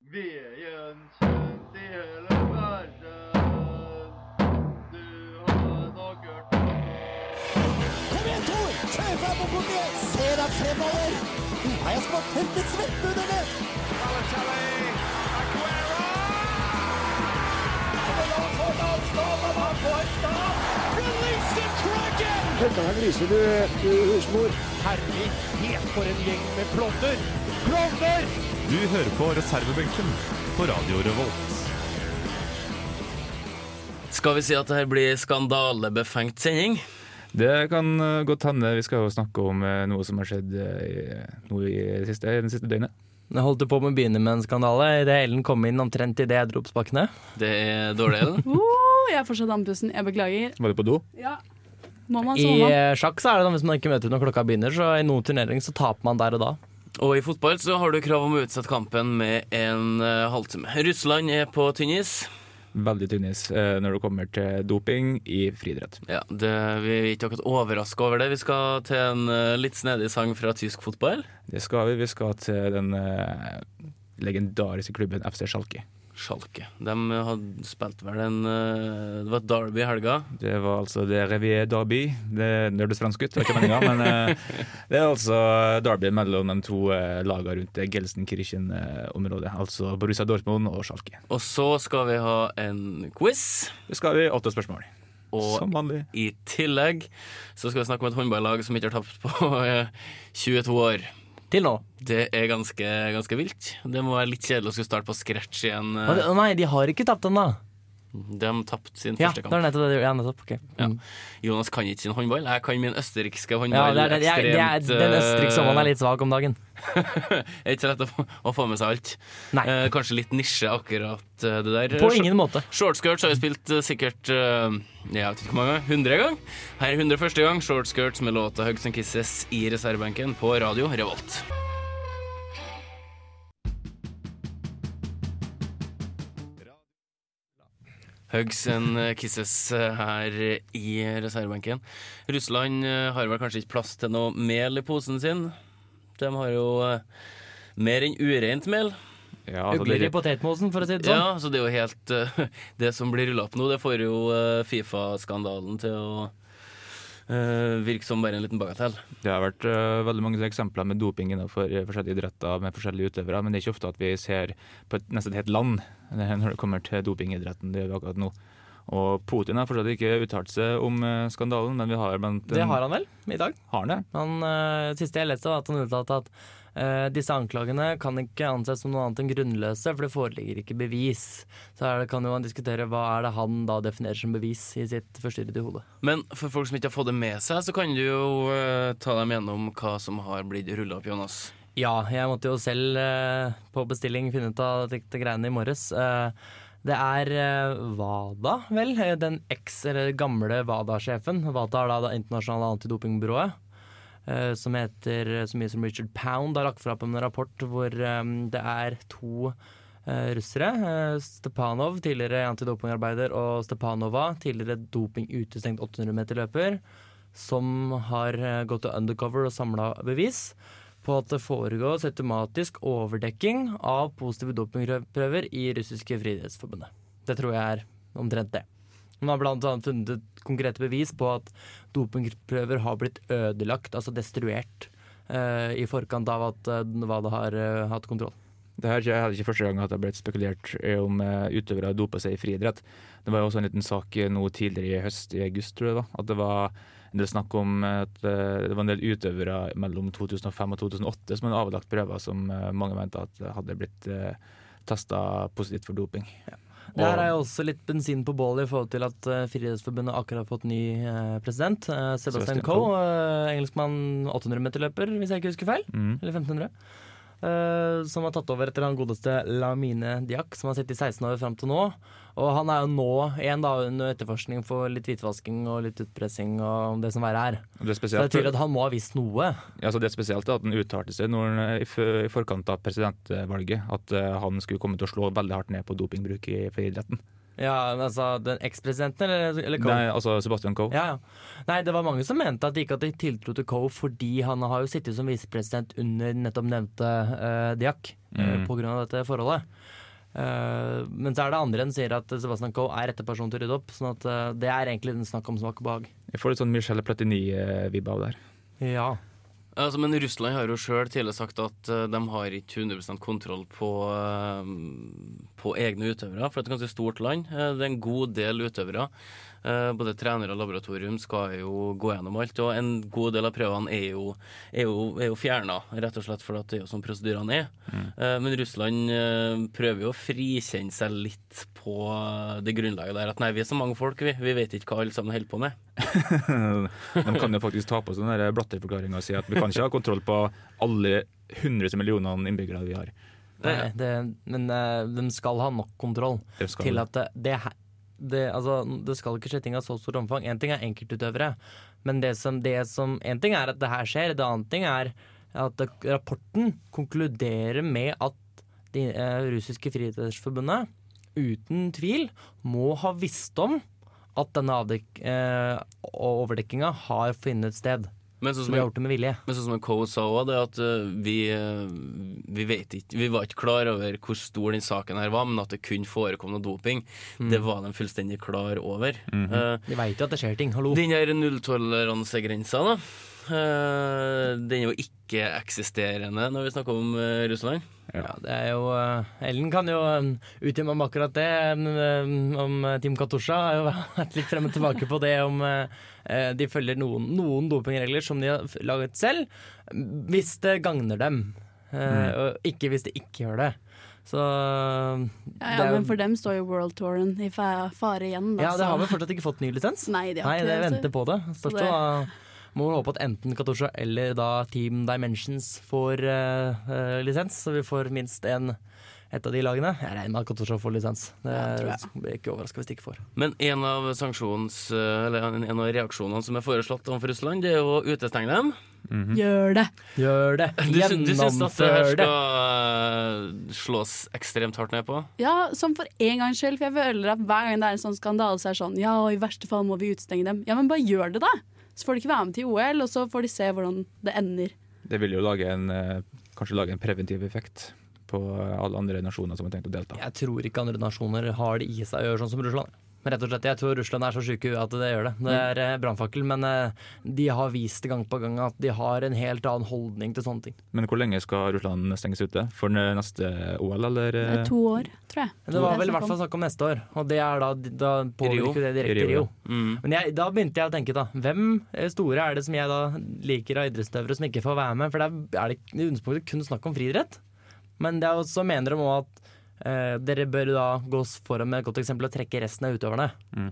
ved Jensen til hele verden. Du har nok hørt om Kom igjen, Tor! Kjør fram mot bordet! Se deg fremover! Nå har jeg smakt helt svett under det! Du hører på reservebenken på Radio Revolt. Skal vi si at dette blir skandalebefengt sending? Det kan eh, godt hende. Vi skal jo snakke om eh, noe som har skjedd eh, i, noe i det siste, den siste døgnet. Jeg holdt jo på med å begynne med en skandale idet Ellen kom inn omtrent idet jeg dro opp spakene. Det er dårlig, eller? Uh, jeg får så andpusten. Jeg beklager. Var du på do? Ja. Må man, I så må man. eh, sjakk så er det da hvis man ikke møter når klokka begynner, så i noen turnering så taper man der og da. Og i fotball så har du krav om å utsette kampen med en eh, halvtime. Russland er på tynn is. Veldig tynnis eh, når det kommer til doping i friidrett. Ja, det, vi er ikke akkurat overraska over det. Vi skal til en eh, litt snedig sang fra tysk fotball. Det skal vi. Vi skal til den eh, legendariske klubben FC Schalke. Schalke. De hadde spilt vel en eh, Det var et derby i helga. Det var altså det Revier Derby. Det nørdes fransk ut, det var ikke meninga. Men eh, det er altså derby mellom de to eh, lagene rundt Gelsenkirchen-området. Altså Borussia Dortmund og Schalke. Og så skal vi ha en quiz. Det skal vi åtte spørsmål. Og Som vanlig. i tillegg så skal vi snakke om et håndballag som ikke har tapt på eh, 22 år. Til nå. Det er ganske, ganske vilt. Det må være litt kjedelig å skulle starte på scratch igjen. eh. Å, det- å Nei, de har ikke tapt ennå. De tapte sin Ja, første det kamp. var nettopp det de gjorde. Ja, nettopp. ok. Mm. Ja. Jonas kan ikke sin håndball. Jeg kan min østerrikske Ja, håndball. det er, det er, det er, den østerrikske sommeren er litt svak om dagen. eh, Ikke rett å få- å få med seg alt. Nei. Eh, kanskje litt nisje, akkurat eh, det der. På ingen måte. Shortskirts har vi spilt eh, sikkert eh, jeg vet ikke hvor mange, 100 gang. Her er 100 første gang. Shortskirts med låta 'Hugs and Kisses' i reservebenken på Radio Revolt. Hugs and Kisses eh, her i reservebenken. Russland eh, har vel kanskje ikke plass til noe mel i posen sin. De har jo eh, mer enn ureint mel. Ja, altså, Ugler i det- potetmosen, for å si det sånn. Ja, så det er jo helt eh, Det som blir rulla opp nå, det får jo eh, Fifa-skandalen til å eh, virke som bare en liten bagatell. Det har vært øh, veldig mange eksempler med doping innenfor øh, forskjellige idretter med forskjellige utøvere, men det er ikke ofte at vi ser på et, nesten et helt land det er når det kommer til dopingidretten. Det gjør vi akkurat nå. Og Putin har fortsatt ikke uttalt seg om øh, skandalen, men vi har blant Det har han vel i dag. Har han det? Han, eh, siste jeg leste, var at han uttalte at eh, disse anklagene kan ikke anses som noe annet enn grunnløse, for det foreligger ikke bevis. Så er det, kan jo man diskutere hva er det han da definerer som bevis i sitt forstyrrede hode. Men for folk som ikke har fått det med seg, så kan du jo eh, ta dem gjennom hva som har blitt rulla opp, Jonas. Ja, jeg måtte jo selv eh, på bestilling finne ut av dette greiene i morges. Eh, det er eh, WADA, vel? eh, Den eks, eller gamle WADA-sjefen. WADA er da det internasjonale antidopingbyrået. eh, Som heter så mye som Richard Pound har lagt fra på en rapport hvor eh, det er to eh, russere. eh, Stepanov, tidligere antidopingarbeider, og Stepanova, tidligere dopingutestengt 800 meter løper, som har eh, gått til undercover og samla bevis på at det foregår systematisk overdekking av positive dopingprøver i russiske friidrettsforbundet. Det tror jeg er omtrent det. Man har bl.a. funnet ut konkrete bevis på at dopingprøver har blitt ødelagt, altså destruert, eh, i forkant av at eh, WADA har eh, hatt kontroll. Det her er ikke- heller ikke første gang at det har blitt spekulert i om eh, utøvere dopa seg i friidrett. Det var jo også en liten sak eh, nå tidligere i høst, i august, tror jeg, da, at det var en del snakk om eh, at eh, det var en del utøvere mellom 2005 og 2008 som hadde avlagt prøver som eh, mange mente at hadde blitt testa positivt for doping. Det her er jo også litt bensin på bålet i forhold til at eh, Friidrettsforbundet akkurat har fått ny eh, president. eh, Sebastian Sebastian Coe, eh, engelskmann 800-meterløper, hvis jeg ikke husker feil. Mm. Eller 1500. eh, som har tatt over etter han godeste Lamine Diak, som har sittet i 16 år fram til nå. Og han er jo nå igjen da under etterforskning for litt hvitvasking og litt utpressing og det som verre er. Og Det Så det er er spesielt, tydelig at han må ha visst noe. ja, så det er spesielt at han uttalte seg når, han, eh, i, f- i forkant av presidentvalget at eh, han skulle komme til å slå veldig hardt ned på dopingbruk i friidretten. Ja, men altså den ekspresidenten eller, eller Coe? Nei, altså Sebastian Coe. Ja, ja. Nei, det var mange som mente at de ikke hadde tiltro til Coe fordi han har jo sittet som visepresident under nettopp nevnte eh, Diak eh, på grunn av dette forholdet. Eh, men så er det andre enn sier at Sebastian Coe er rette person til å rydde opp. Sånn at eh, det er egentlig den snakk om smak og behag. Jeg får litt sånn Michelle Platini-vibb av det her. Ja. Altså, men Russland har jo sjøl tidligere sagt at eh, de har ikke 100 kontroll på, eh, på egne utøvere, for det er et ganske stort land. Eh, Det er en god del utøvere. Eh, Både trenere og laboratorium skal jo gå gjennom alt, og en god del av prøvene er jo, er jo, er jo fjerna, rett og slett fordi at det er jo sånn prosedyrene er. Mm. Eh, Men Russland eh, prøver jo å frikjenne seg litt på eh, det grunnlaget der at nei, vi er så mange folk, vi. Vi vet ikke hva alle sammen holder på med. De kan jo faktisk ta på seg den der blatterforklaringa og si at vi kan ikke ha kontroll på alle hundrede millionene innbyggere vi har. Nei, det, men eh, de skal ha nok kontroll Det skal til de. at det, det, he- det, altså, det skal ikke skje ting av så stort omfang. Én ting er enkeltutøvere, men det som, det som En ting er at det her skjer, det annet ting er at det, rapporten konkluderer med at det russiske friidrettsforbundet uten tvil må ha visst om at denne avdek, eh, overdekkinga har funnet sted. Men sånn Så som de har jeg gjort det med vilje. Men sånn som Coe sa òg, det at eh, vi, eh, vi vet ikke Vi var ikke klar over hvor stor den saken her var, men at det kunne forekomme noe doping, det var de fullstendig klar over. Eh, De veit jo at det skjer ting. Hallo. den her nulltoleransegrensa, da, eh, den er jo ikke-eksisterende når vi snakker om eh, Russland. Ja, det er jo eh, Ellen kan jo eh, utdype om akkurat det. eh, Om eh, Team Katusha har jo vært litt frem og tilbake på det om eh, eh, de følger noen, noen dopingregler som de har f- laget selv, hvis det gagner dem. eh, Og ikke hvis det ikke gjør det. Så Ja, det ja, er jo- men for dem står jo World Touren i fa- fare igjen. Da, ja, det har så- vel fortsatt ikke fått ny lisens? altså- Nei, de har Nei, ikke det det, så- venter på det. Spørs så det. det- Må vel håpe at enten Katusha eller da Team Dimensions får eh, eh, lisens, så vi får minst en, et av de lagene. Jeg regner med at Katusha får lisens. Det Ja, tror er- blir ikke overraska hvis de ikke får. Men en av sanksjons, eh, eller en en av reaksjonene som er foreslått overfor Russland, det er jo å utestenge dem. Mhm. Gjør det! Gjør det! Du, sy- du syns at det her skal eh, slås ekstremt hardt ned på? Ja, Som for en gangs skyld, for jeg føler at hver gang det er en sånn skandale, så er det sånn Ja, og i verste fall må vi utestenge dem. Ja, men bare gjør det, da! Så får de ikke være med til OL, og så får de se hvordan det ender. Det vil jo lage en, eh, kanskje lage en preventiv effekt på alle andre nasjoner som har tenkt å delta. Jeg tror ikke andre nasjoner har det i seg å gjøre sånn som Russland. Men Rett og slett, Jeg tror Russland er så syke i huet at det gjør det. Det er eh, brannfakkel. Men eh, de har vist gang på gang at de har en helt annen holdning til sånne ting. Men hvor lenge skal Russland stenges ute? For n- neste OL, eller? Det er eh? to år, tror jeg. Det var vel i Jeg hvert fall snakk om neste år, og det er da, da Rio. påvirker det direkte I Rio. Rio, Rio. ja. Mm. Men jeg, da begynte jeg å tenke, da. Hvem eh, store er det som jeg da liker av idrettsutøvere som ikke får være med? For der er det i utgangspunktet kun snakk om friidrett. Men det er jo så mener de òg at eh, dere bør da gå s- foran med et godt eksempel og trekke resten av utøverne.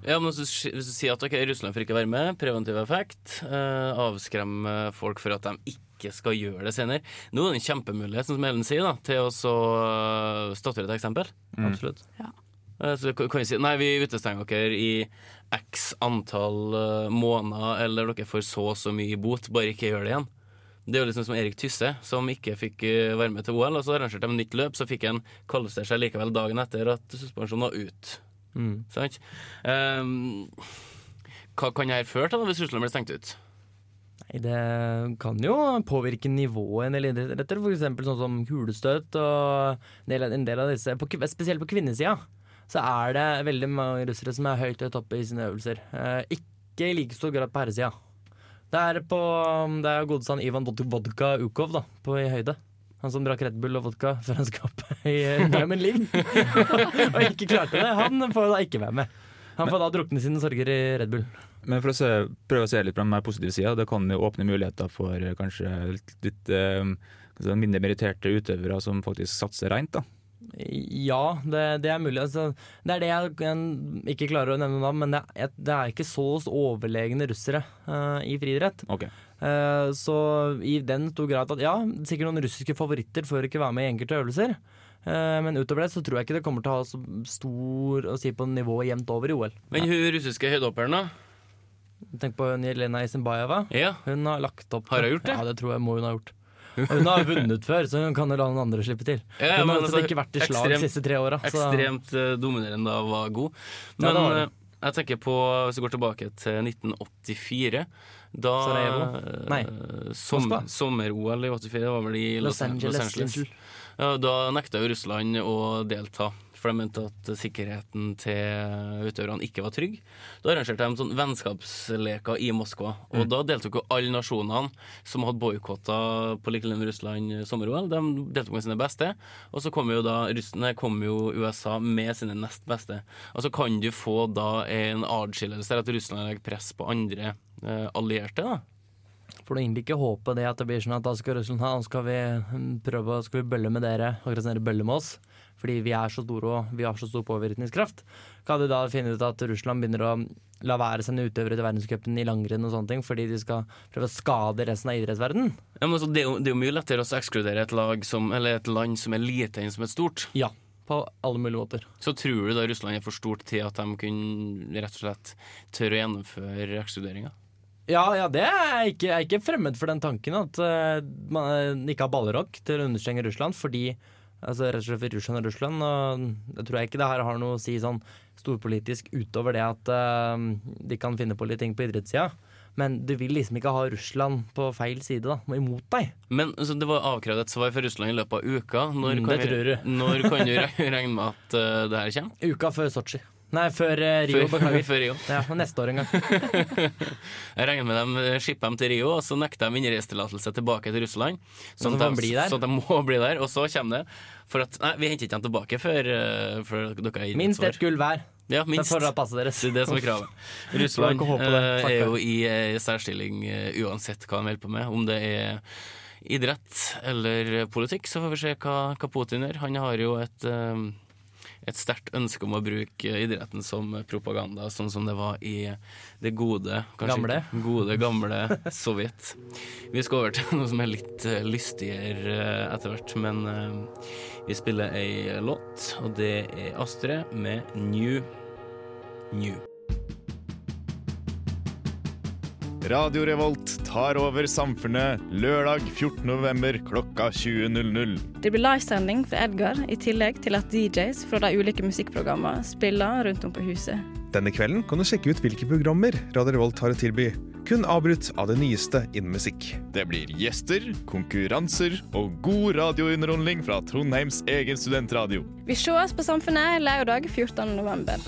Ja, men hvis du, si- hvis du sier at ok, Russland får ikke være med, preventiv effekt, eh, avskremme folk for at de ikke skal gjøre det senere. Nå er det en kjempemulighet, sånn som Ellen sier, da, til å så, eh, statuere et eksempel. Absolutt. Eh, Så kan kan vi si nei, vi utestenger dere i x antall eh, måneder, eller dere får så og så mye i bot, bare ikke gjør det igjen. Det er jo liksom som Erik Tysse, som ikke fikk eh, være med til OL, og så arrangerte de nytt løp, så fikk han kvalifisere seg likevel dagen etter at suspensjonen var ut. Mm. Sant? Ehm, hva kan det her føre til da, hvis Russland blir stengt ut? Nei, Det kan jo påvirke nivået i en del idretter, f.eks. sånn som hulestøt og en del, en del av disse, på, kv- spesielt på kvinnesida. Så er det veldig mange russere som er høyt høyt oppe i sine øvelser. Eh, ikke i like stor grad på herresida. Det er på um, Det er godeste han Ivan Vod- Vodka Ukov, da, på i høyde. Han som drakk Red Bull og vodka før han skal opp i eh, Diamond League. og ikke klarte det. Han får da ikke være med. Han får da drukne sine sorger i Red Bull. Men for å se, prøve å se litt på den mer positive sida, det kan jo åpne muligheter for eh, kanskje litt, litt eh, kanskje mindre meritterte utøvere som faktisk satser rent. da. Ja, det, det er mulig. Altså, det er det jeg kan- ikke klarer å nevne navn, men det er, det er ikke så overlegne russere eh, i friidrett. Ok. Eh, så i den stor grad at ja, sikkert noen russiske favoritter får ikke være med i enkelte øvelser. Eh, men utover det så tror jeg ikke det kommer til å ha så stor å si på nivået jevnt over i OL. Men hun russiske høydehopperen, da? Tenk på hun Jelena Isenbajeva. Ja. Hun har lagt opp. Har hun gjort det? Ja, det tror jeg må hun ha gjort. Og hun har vunnet før, så hun kan jo la noen andre slippe til. Ja, ja, hun har men jo altså, ikke vært i slag ekstremt- de siste tre åra. Ekstremt eh, dominerende da var god. Ja, Men det var det. eh, jeg tenker på, hvis vi går tilbake til 1984 da, Sarajevo? Nei, eh, som, Moskva? Sommer-OL i 84 det var vel i Los, Los Angeles. Los Angeles. Ja, Da nekta jo Russland å delta for de mente at sikkerheten til utøverne ikke var trygg. Da arrangerte de sånn vennskapsleker i Moskva. Og da deltok jo alle nasjonene som hadde boikotta på like linje med Russland sommer-OL. De deltok med sine beste. Og så kom jo da russene, kom jo USA med sine nest beste. Og så kan du få da en adskillelse, eller at Russland legger press på andre eh, allierte. da. For du egentlig ikke håpe det at det blir sånn at da skal Russland ha, nå skal vi mm, prøve å- skal vi bølle med dere, akkurat som dere bøller med oss. Fordi vi er så store og vi har så stor påvirkningskraft. Kan du da finne ut at Russland begynner å la være å sende utøvere til verdenscupen i langrenn og sånne ting, fordi de skal prøve å skade resten av idrettsverdenen? Ja, men altså, det, er jo, det er jo mye lettere å ekskludere et, lag som, eller et land som er lite, enn som er stort. Ja. På alle mulige måter. Så tror du da Russland er for stort til at de kunne rett og slett tørre å gjennomføre ekskluderinga? Ja, ja, det er ikke, jeg er ikke fremmed for den tanken at eh, man ikke har ballrock til å understrenge Russland, fordi altså, rett og slett for Russland er Russland, og jeg tror jeg ikke det her har noe å si sånn storpolitisk utover det at eh, de kan finne på litt ting på idrettssida. Men du vil liksom ikke ha Russland på feil side, da, imot deg. Men altså, det var avkrevd et svar fra Russland i løpet av uka. Når Mm, kan det vi- tror du. Når kan du re- regne med at eh, det her kommer? Uka før Sotsji. Nei, før eh, Rio, Før, beklager. før Rio. Ja, neste år en gang. Jeg regner med dem eh, shipper dem til Rio, og så nekter de innreisetillatelse tilbake til Russland. Sånn Så at de de, blir der. sånn at de må bli der. Og så kommer det. For at, nei, vi henter ikke dem tilbake før, eh, før dere har gitt Minst et ett svar. gull hver. Ja, Det minst. får da passe deres. Det er det som er kravet. Jeg Russland kan håpe det. eh, Takk er for jo i eh, særstilling eh, uansett hva de holder på med. Om det er idrett eller politikk, så får vi se hva, hva Putin gjør. Han har jo et, eh, et sterkt ønske om å bruke idretten som propaganda, sånn som det var i det gode, kanskje Gamle. ikke- gode, gamle Sovjet. Vi skal over til noe som er litt eh, lystigere eh, etter hvert, men eh, vi spiller ei låt, og det er Astrid med New New. Radio Revolt tar over samfunnet lørdag 14. november klokka 20.00. Det blir livesending fra Edgar, i tillegg til at DJs fra de ulike musikkprogrammene spiller rundt om på huset. Denne kvelden kan du sjekke ut hvilke programmer Radio Revolt har å tilby, kun avbrutt av det nyeste innen musikk. Det blir gjester, konkurranser og god radiounderholdning fra Trondheims egen studentradio. Vi ses på Samfunnet lørdag 14. november.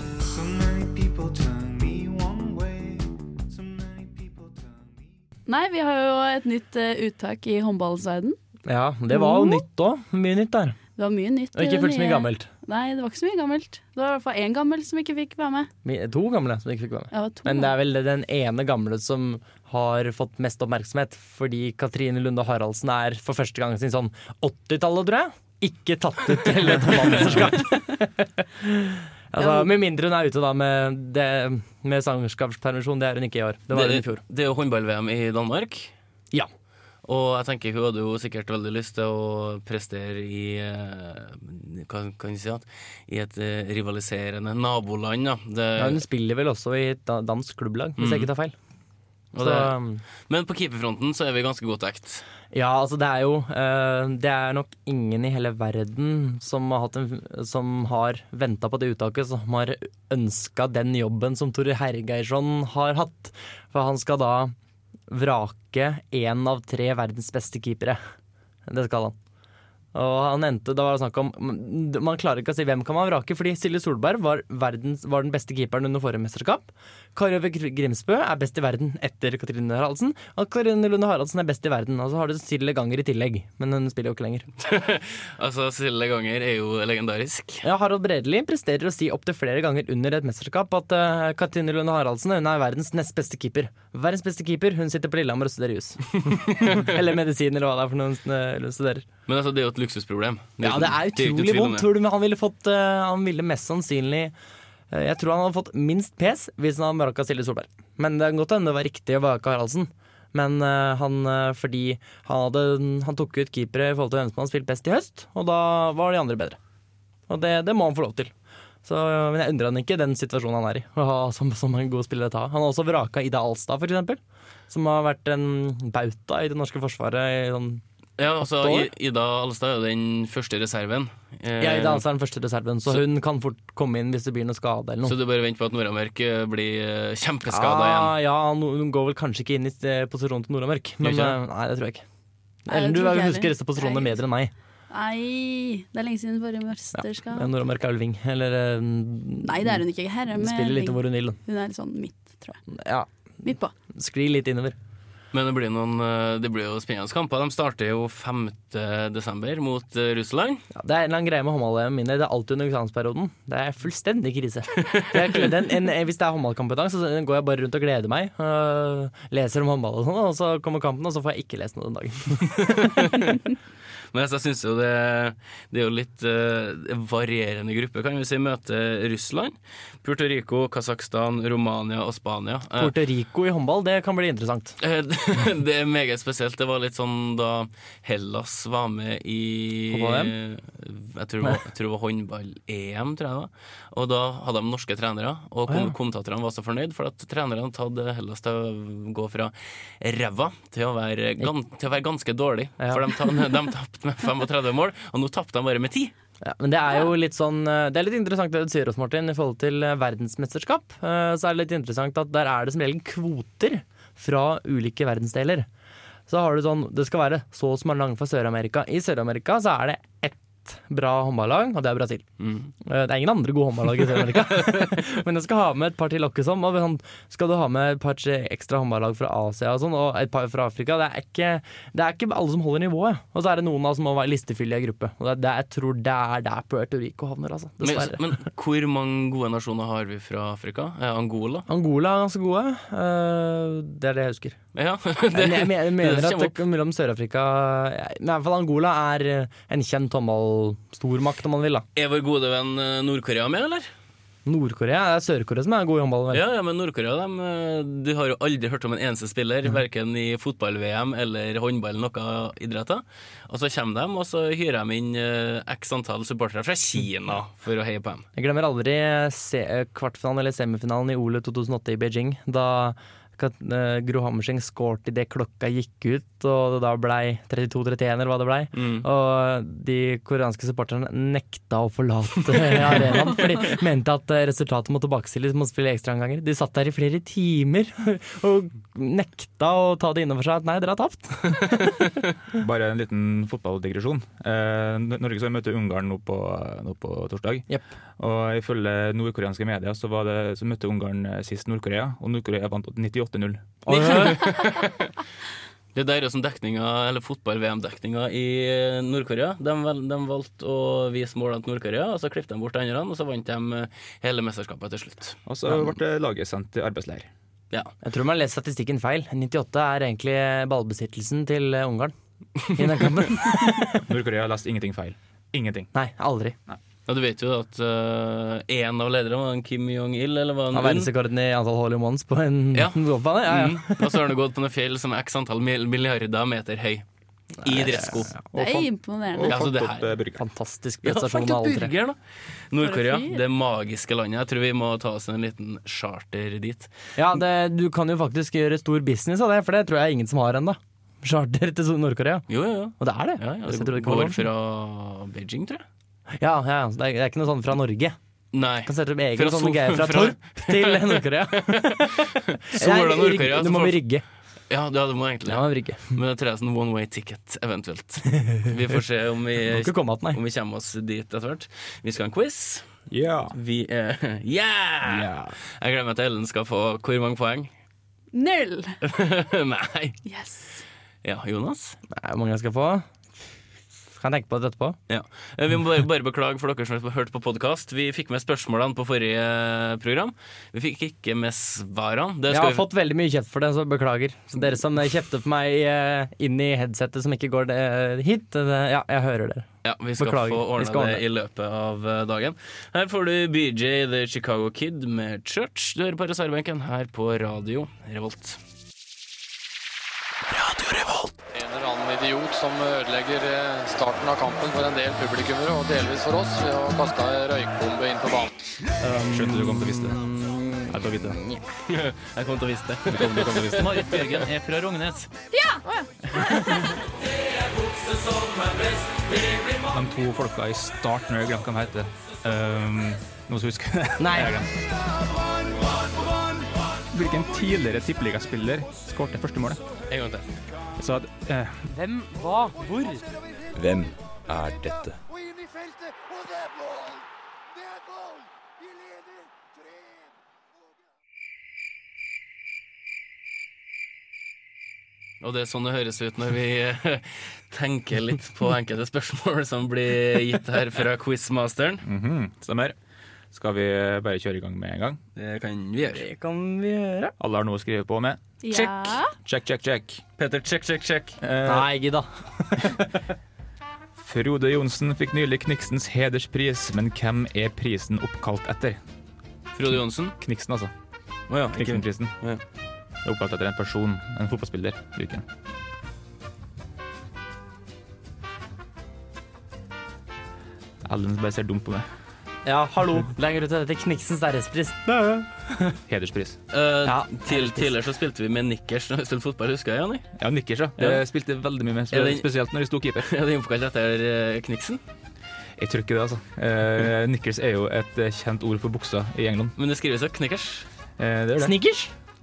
Nei, vi har jo et nytt eh, uttak i håndballens verden. Ja, det var jo nytt òg. Mye nytt der. Det var mye nytt. Og i ikke det fullt så nye- mye gammelt. Nei, det var ikke så mye gammelt. Det var i hvert fall én gammel som ikke fikk være med. Mi- To gamle som ikke fikk være med. Ja, det var to Men det gammel. er vel den ene gamle som har fått mest oppmerksomhet, fordi Katrine Lunde Haraldsen er for første gang sin sånn 80-tallet, tror jeg. Ikke tatt ut til et mannsskap. altså, med mindre hun er ute da med, det, med svangerskapspermisjon. Det er hun ikke i år. Det var hun i fjor. Det er jo håndball-VM i Danmark. Ja. Og jeg tenker hun hadde jo sikkert veldig lyst til å prestere i eh, Hva kan jeg si? At, I et eh, rivaliserende naboland, da. Det, Ja, hun spiller vel også i et da- dansk klubblag, hvis jeg ikke tar feil. og Så, um, det, men på keeperfronten så er vi ganske godt dekt. Ja, altså det er jo eh, Det er nok ingen i hele verden som har, hatt en- som har venta på det uttaket, som har ønska den jobben som Tore Hergeirsson har hatt. For han skal da vrake én av tre verdens beste keepere. Det skal han. Og han endte, da var det snakk om Man klarer ikke å si hvem kan man vrake, fordi Silje Solberg var, verdens, var den beste keeperen under forrige mesterskap. Kari Øve Grimsbø er best i verden etter Katrine Haraldsen. Og Katrine Lunde Haraldsen er best i verden. Og så har du Silje Ganger i tillegg, men hun spiller jo ikke lenger. Altså, Silje Ganger er jo legendarisk. Ja, Harald Bredeli presterer å si opptil flere ganger under et mesterskap at eh, Katrine Lunde Haraldsen hun er verdens nest beste keeper. Verdens beste keeper, hun sitter på Lillehammer og studerer jus. eller medisin, eller hva det er for noe hun eh, hun studerer. Men altså, det er jo et luksusproblem. Ja, det er ikke utrolig tvil om vondt. det. Tror du men han ville fått eh, Han ville mest sannsynlig eh, Jeg tror han hadde fått minst pes hvis han hadde vraka Silje Solberg. Men det kan godt hende det var riktig å vrake Haraldsen. Men eh, han eh, fordi han, hadde, han tok ut keepere i forhold til hvem som hadde spilt best i høst, og da var de andre bedre. Og det, det må han få lov til. Så, eh, men jeg undrer han ikke den situasjonen han er i, å ha som, som en god spiller å ta. Han har også vraka Ida Alstad, for eksempel. Som har vært en bauta i det norske forsvaret i sånn Ja, altså, Åtte år? I- Ida Alstad er jo den første reserven. Eh, Ja, Ida Hansen er den første reserven, så, Så- hun kan fort komme inn hvis det blir noe skade eller Eh, Så noe. du bare venter på at Nordamørk eh, blir eh, kjempeskada igjen. Ah, ja, no- hun går vel kanskje ikke inn i eh, posisjonen til Nordamørk, men Gjør ikke eh, nei, det tror jeg ikke. Nei, det Ellen, du tror ikke jeg husker heller. disse posisjonene Nei. bedre enn meg. Nei, det er lenge siden forrige mesterskap. Ja, Nora Mørk Alving. Eller eh, Nei, det er hun ikke. eh, Her er Hun med spiller litt Ling. hvor hun vil. Hun er litt sånn midt, tror jeg. Ja, Midt på. skli litt innover. Men det blir, noen, eh, det blir jo spennende kamper. De starter jo 5. desember mot eh, Russland. Ja, det er en eller annen greie med håndball-EM min. Det er alltid under eksamensperioden. Det er fullstendig krise. Det er, ikke- den, en, hvis det er håndballkampetang, så går jeg bare rundt og gleder meg. øh, leser om håndball og sånn, og så kommer kampen, og så får jeg ikke lest noe den dagen. Men altså, jeg syns jo det, det er jo litt eh, varierende gruppe, kan vi si. Møter Russland, Puerto Rico, Kasakhstan, Romania og Spania. Eh, Puerto Rico i håndball, det kan bli interessant. Eh, Det er meget spesielt. Det var litt sånn da Hellas var med i Fotball-EM? Jeg tror det var, jeg tror det var håndball-EM, tror jeg det var. Og da hadde de norske trenere, og kom, kommentatorene var så fornøyd, for at trenerne hadde tatt Hellas til å gå fra ræva til, å være gan- til å være ganske dårlig. Ja. For de, ta- de tapte med 35 mål, og nå tapte de bare med 10. Ja, men det er jo litt sånn eh, Det er litt interessant det du sier oss, Martin, i forhold til eh, verdensmesterskap. eh, Så er det litt interessant at der er det som regel kvoter fra ulike verdensdeler. Så har du sånn Det skal være så og så mange land fra Sør-Amerika. I Sør-Amerika så er det ett bra håndballag, og det er Brasil. Eh, Det er ingen andre gode håndballag i Sør-Amerika. Men jeg skal ha med et par til lokkes om. Og sånn, skal du ha med et par tre ekstra håndballag fra Asia og sånn, og et par fra Afrika det er, ikke, det er ikke alle som holder nivået. Og så er det noen av oss som må være listefyldige i gruppe. Og det, er- det, er- jeg tror det er der Puerto Rico havner, altså. Men, Dessverre. men hvor mange gode nasjoner har vi fra Afrika? Eh, Angola? Angola er ganske gode. Eh, det er det jeg husker. Ja, Men jeg mener, jeg mener det at kommer det, mellom Sør-Afrika Men i hvert fall Angola er eh, en kjent håndballstormakt, om man vil. da Er vår gode venn eh, Nord-Korea med, eller? Nord-Korea det er Sør-Korea som er god i håndball. vel? Ja, ja, men Nord-Korea dem, eh, Du har jo aldri hørt om en eneste spiller, verken i fotball-VM eller håndball eller noe idretter. Og så kommer de, og så hyrer de inn eh, x antall supportere fra Kina for å heie på dem. Jeg glemmer aldri se eh, kvartfinalen eller semifinalen i OL 2008 i Beijing. Da Kat- eh, Gro Hammerseng skåret idet klokka gikk ut, og det da blei 32-31 eller hva det blei. Og de koreanske supporterne nekta å forlate arenaen, for de mente at eh, resultatet må tilbakestilles, må spille ekstraomganger. De satt der i flere timer og nekta å ta det innover seg at nei, dere har tapt. Bare en liten fotballdigresjon. Eh, N- Norge skal møte Ungarn nå på, nå på torsdag. Jepp. Og ifølge nordkoreanske medier så, var det, så møtte Ungarn eh, sist Nord-Korea, og Nord-Korea vant eh, 98-0. Det der er jo som dekninga, eller fotball-VM-dekninga i eh, Nord-Korea. De, vel- de valgte å vise målene til Nord-Korea, og så klippet de bort de andre, og så vant de eh, hele mesterskapet til slutt. Og så ble laget sendt til arbeidsleir. Ja. Jeg tror man leser statistikken feil. 98 er egentlig ballbesittelsen til eh, Ungarn i den kampen. Nord-Korea leste ingenting feil. Ingenting. Nei, aldri. Og du vet jo at én av lederne var en Kim Jong-il, eller var Av han Un? verdensrekorden i antall hole in ones på en Ja. golfbane? Ja, ja. Mm. Og så har han gått på noen fjell som er x antall mil- milliarder meter høy. I dressko. Det er Og imponerende. Ja, altså, fant det opp her- eh, burger. Fantastisk Ja, prestasjon fant av opp alle tre. burger, da. Nord-Korea, For en fyr. det magiske landet. Jeg tror vi må ta oss en liten charter dit. Ja, det, du kan jo faktisk gjøre stor business av det, for det tror jeg ingen som har ennå. Charter til Sør- Nord-Korea. Jo, jo, jo. Og det er det. Ja, ja, Hvis jeg det tror det kan går være fra Beijing, tror jeg. Ja, ja, så det, er, det er ikke noe sånn fra Norge. Nei. Kan sette opp Fra egen Sol- sånn greie fra fra- Torp til Nord-Korea. Sola Nei, Nord-Korea, Du så må får- vi rygge. Ja, det hadde man egentlig. Ja, vi rygge. Men jeg tror jeg er sånn one way ticket, eventuelt. Vi får se om vi, Må ikke komme at nei. om vi kommer oss dit etter hvert. Vi skal ha en quiz. Ja. Vi er Yeah! Ja. Jeg glemmer at Ellen skal få hvor mange poeng? Null! Nei. Yes. Ja, Jonas? Nei, Hvor mange jeg skal få? Kan jeg tenke på det etterpå. Ja. Eh, Vi må bare, bare beklage for dere som har hørt på podkast. Vi fikk med spørsmålene på forrige eh, program. Vi fikk ikke med svarene. Det Jeg skal har fått veldig mye kjeft for det, så beklager. Så dere som kjefter på meg eh, inn i headsetet som ikke går eh, hit, det, ja, jeg hører dere. vi, ja, vi skal beklager. få Vi ordna skal ordne det i løpet av eh, dagen. Her får du BJ The Chicago Kid med Church. Du hører på reservebenken her på Radio Revolt. En eller annen idiot som ødelegger eh, starten av kampen for en del publikummere, og delvis for oss, ved å kaste ei røykbombe inn på banen. Skjønte du kom til å vite det. Jeg tar vite det. Jeg kom til å vise det. Marit Bjørgen er fra Rognes. De to folka i starten, jeg glemte hva de heter. Um, noen som husker det? Nei. Jeg har glemt. Hvilken tidligere tippeligaspiller skåret første målet? En gang til. Jeg sa at eh, Hvem, hva, hvor? Hvem er dette? Og det er sånn det høres ut når vi eh, tenker litt på enkelte spørsmål som blir gitt her fra quizmasteren. Mhm, Stemmer. Skal vi bare kjøre i gang med en gang? Det kan vi gjøre. Det kan vi gjøre. Alle har noe å skrive på med? Ja. Check, check, check. Peter, check, check, check. Nei, gidda. Frode Johnsen fikk nylig Kniksens hederspris, men hvem er prisen oppkalt etter? Frode Johnsen. Kniksen, altså. Å ja, ikke- Kniksenprisen. Ja. Det er oppkalt etter en person, en fotballspiller. Hvilken? Ellen bare ser dumt på meg. Ja, hallo. Legger du til dette Kniksens ærespris? Hederspris. Eh, Ja, til, heldigvis. tidligere så spilte vi med nikkers når vi spilte fotball, husker jeg, Janni? Ja, nikkers, ja. Det Ja. spilte veldig mye med, Er det- spesielt når de sto keeper. Er det oppkalt etter eh, Kniksen? Jeg tror ikke det, altså. Eh, nikkers er jo et eh, kjent ord for buksa i England. Men det skrives jo Knickers. Eh, det er det. Snickers?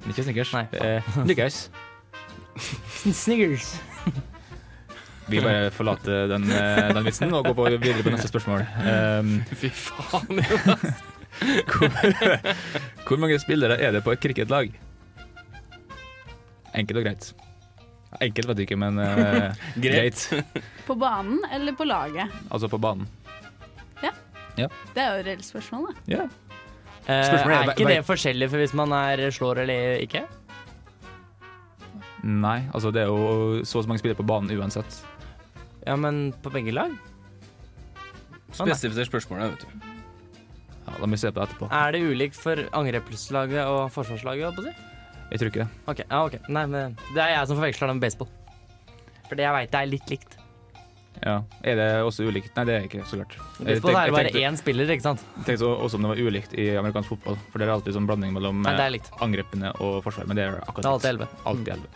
Ikke snickers. Nei, Eh, nikkers. Snickers. Vi bare forlater den, eh, den vitsen og går på videre på neste spørsmål. Ehm, Fy faen. hvor mange spillere er det på et cricketlag? Enkelt og greit. Enkelt vet jeg ikke, men eh, greit. På banen eller på laget? Altså på banen. Det er jo et reelt spørsmål, da. Ja. Eh, Spørsmålet er, er ikke hva- det forskjellig for hvis man er slår eller ikke? Nei, altså det er jo så og så mange spillere på banen uansett. Ja, men på begge lag? Spesifiser spørsmålet, vet du. Ja, Da må vi se på det etterpå. Er det ulikt for angrepslaget og forsvarslaget? holdt på å si? Jeg tror ikke det. Ok, ja, ok. Nei, men Det er jeg som forveksler det med baseball. Fordi jeg veit det er litt likt. Ja. Er det også ulikt? Nei, det er ikke så klart. Jeg Baseball tenk- er det jeg bare tenkte- én spiller, ikke sant? Jeg tenkte også om det var ulikt i amerikansk fotball, for det er alltid sånn blanding mellom Nei, det er eh, likt. angrepene og forsvaret, men det er akkurat Det er alltid elleve. Alltid elleve.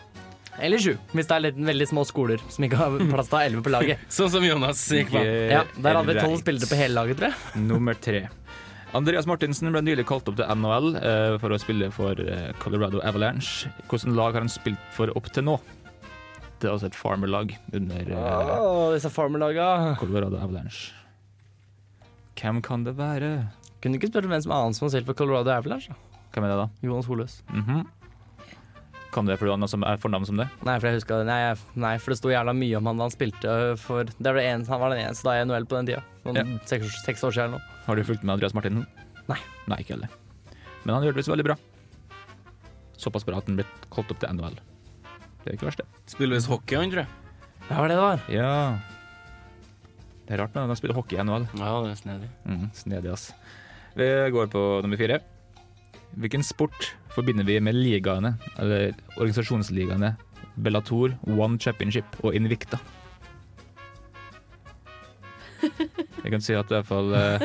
Eller sju, hvis det er litt, veldig små skoler som ikke har plass til å ha elleve på laget. Sånn som Jonas gikk på. Eh, Ja, Der hadde vi tolv greit. spillere på hele laget, tror jeg. Nummer tre. Andreas Martinsen ble nylig kalt opp til NHL eh, for å spille for eh, Colorado Avalanche. Hvilket lag har han spilt for opp til nå? Det er altså et farmerlag under eh, Åh, disse farmerlaga. Colorado Avalanche. Hvem kan det være? Kunne du ikke spurt om hvem som annen som har spilt for Colorado Avalanche? da? Hvem er det, da? Jonas Holøs. Mhm. Kan det fordi han også er fornavn som det? Nei, for jeg husker, nei, jeg- nei, for det sto jævla mye om han da han spilte øh, for det var det en, Han var den eneste da i NHL på den tida. Sånn Ja. seks, seks år siden eller noe. Har du fulgt med Andreas Martinsen? Nei. Nei, ikke heller. Men han gjør det visst veldig bra. Såpass bra at han ble kalt opp til NHL. Det er ikke verst, det. Spiller visst hockey, han, tror jeg. Det var det det var. Ja. Det er rart når de spiller hockey i NHL. Ja, det er snedig. Mm, snedig, ass. Vi går på nummer fire. Hvilken sport forbinder vi med ligaene, eller organisasjonsligaene Bellator, One Championship og Invicta? Jeg kan si at det er i hvert fall eh,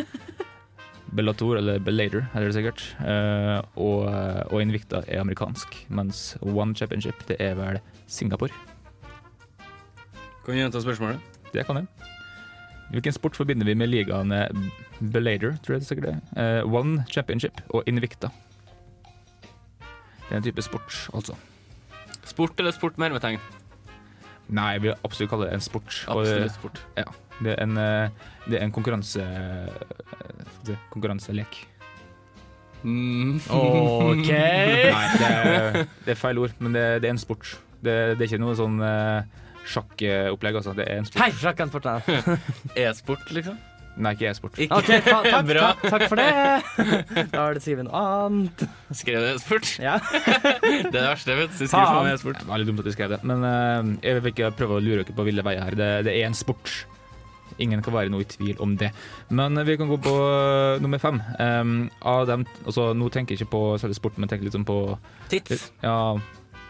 Bellator, eller Bellator, er det sikkert, eh, og, og Invicta er amerikansk, mens One Championship det er vel Singapore. Kan du gjenta spørsmålet? Det kan jeg. Hvilken sport forbinder vi med ligaene Belader, tror jeg det sikkert det er, eh, One Championship og Invicta? Det er en type sport, altså. Sport eller sport med hermetegn? Nei, jeg vil absolutt kalle det en sport. Og Absolutt sport. Det, det er en, eh, det er en konkurranse... eh, skal vi si, konkurranselek. Mm. OK. Nei, det er, det er feil ord, men det, det er en sport. Det, det er ikke noe sånn eh, sjakkopplegg, altså. Det er en sport. Hei, sjakk en sport. Nei. E-sport, liksom? Nei, ikke e-sport. Ikke OK, faen, takk, Bra. takk, takk for det. Da har du skrevet noe annet. Skrev det e-sport? Ja. Det er det verste jeg vet. Så skriv for meg e-sport. Det var litt dumt at jeg skrev det, men eh, jeg vil ikke prøve å lure dere på ville veier her. Det, det er en sport. Ingen kan være noe i tvil om det. Men eh, vi kan gå på eh, nummer fem. Um, av dem, altså, nå tenker jeg ikke på selve sporten, men tenker litt sånn på Tits. Ja,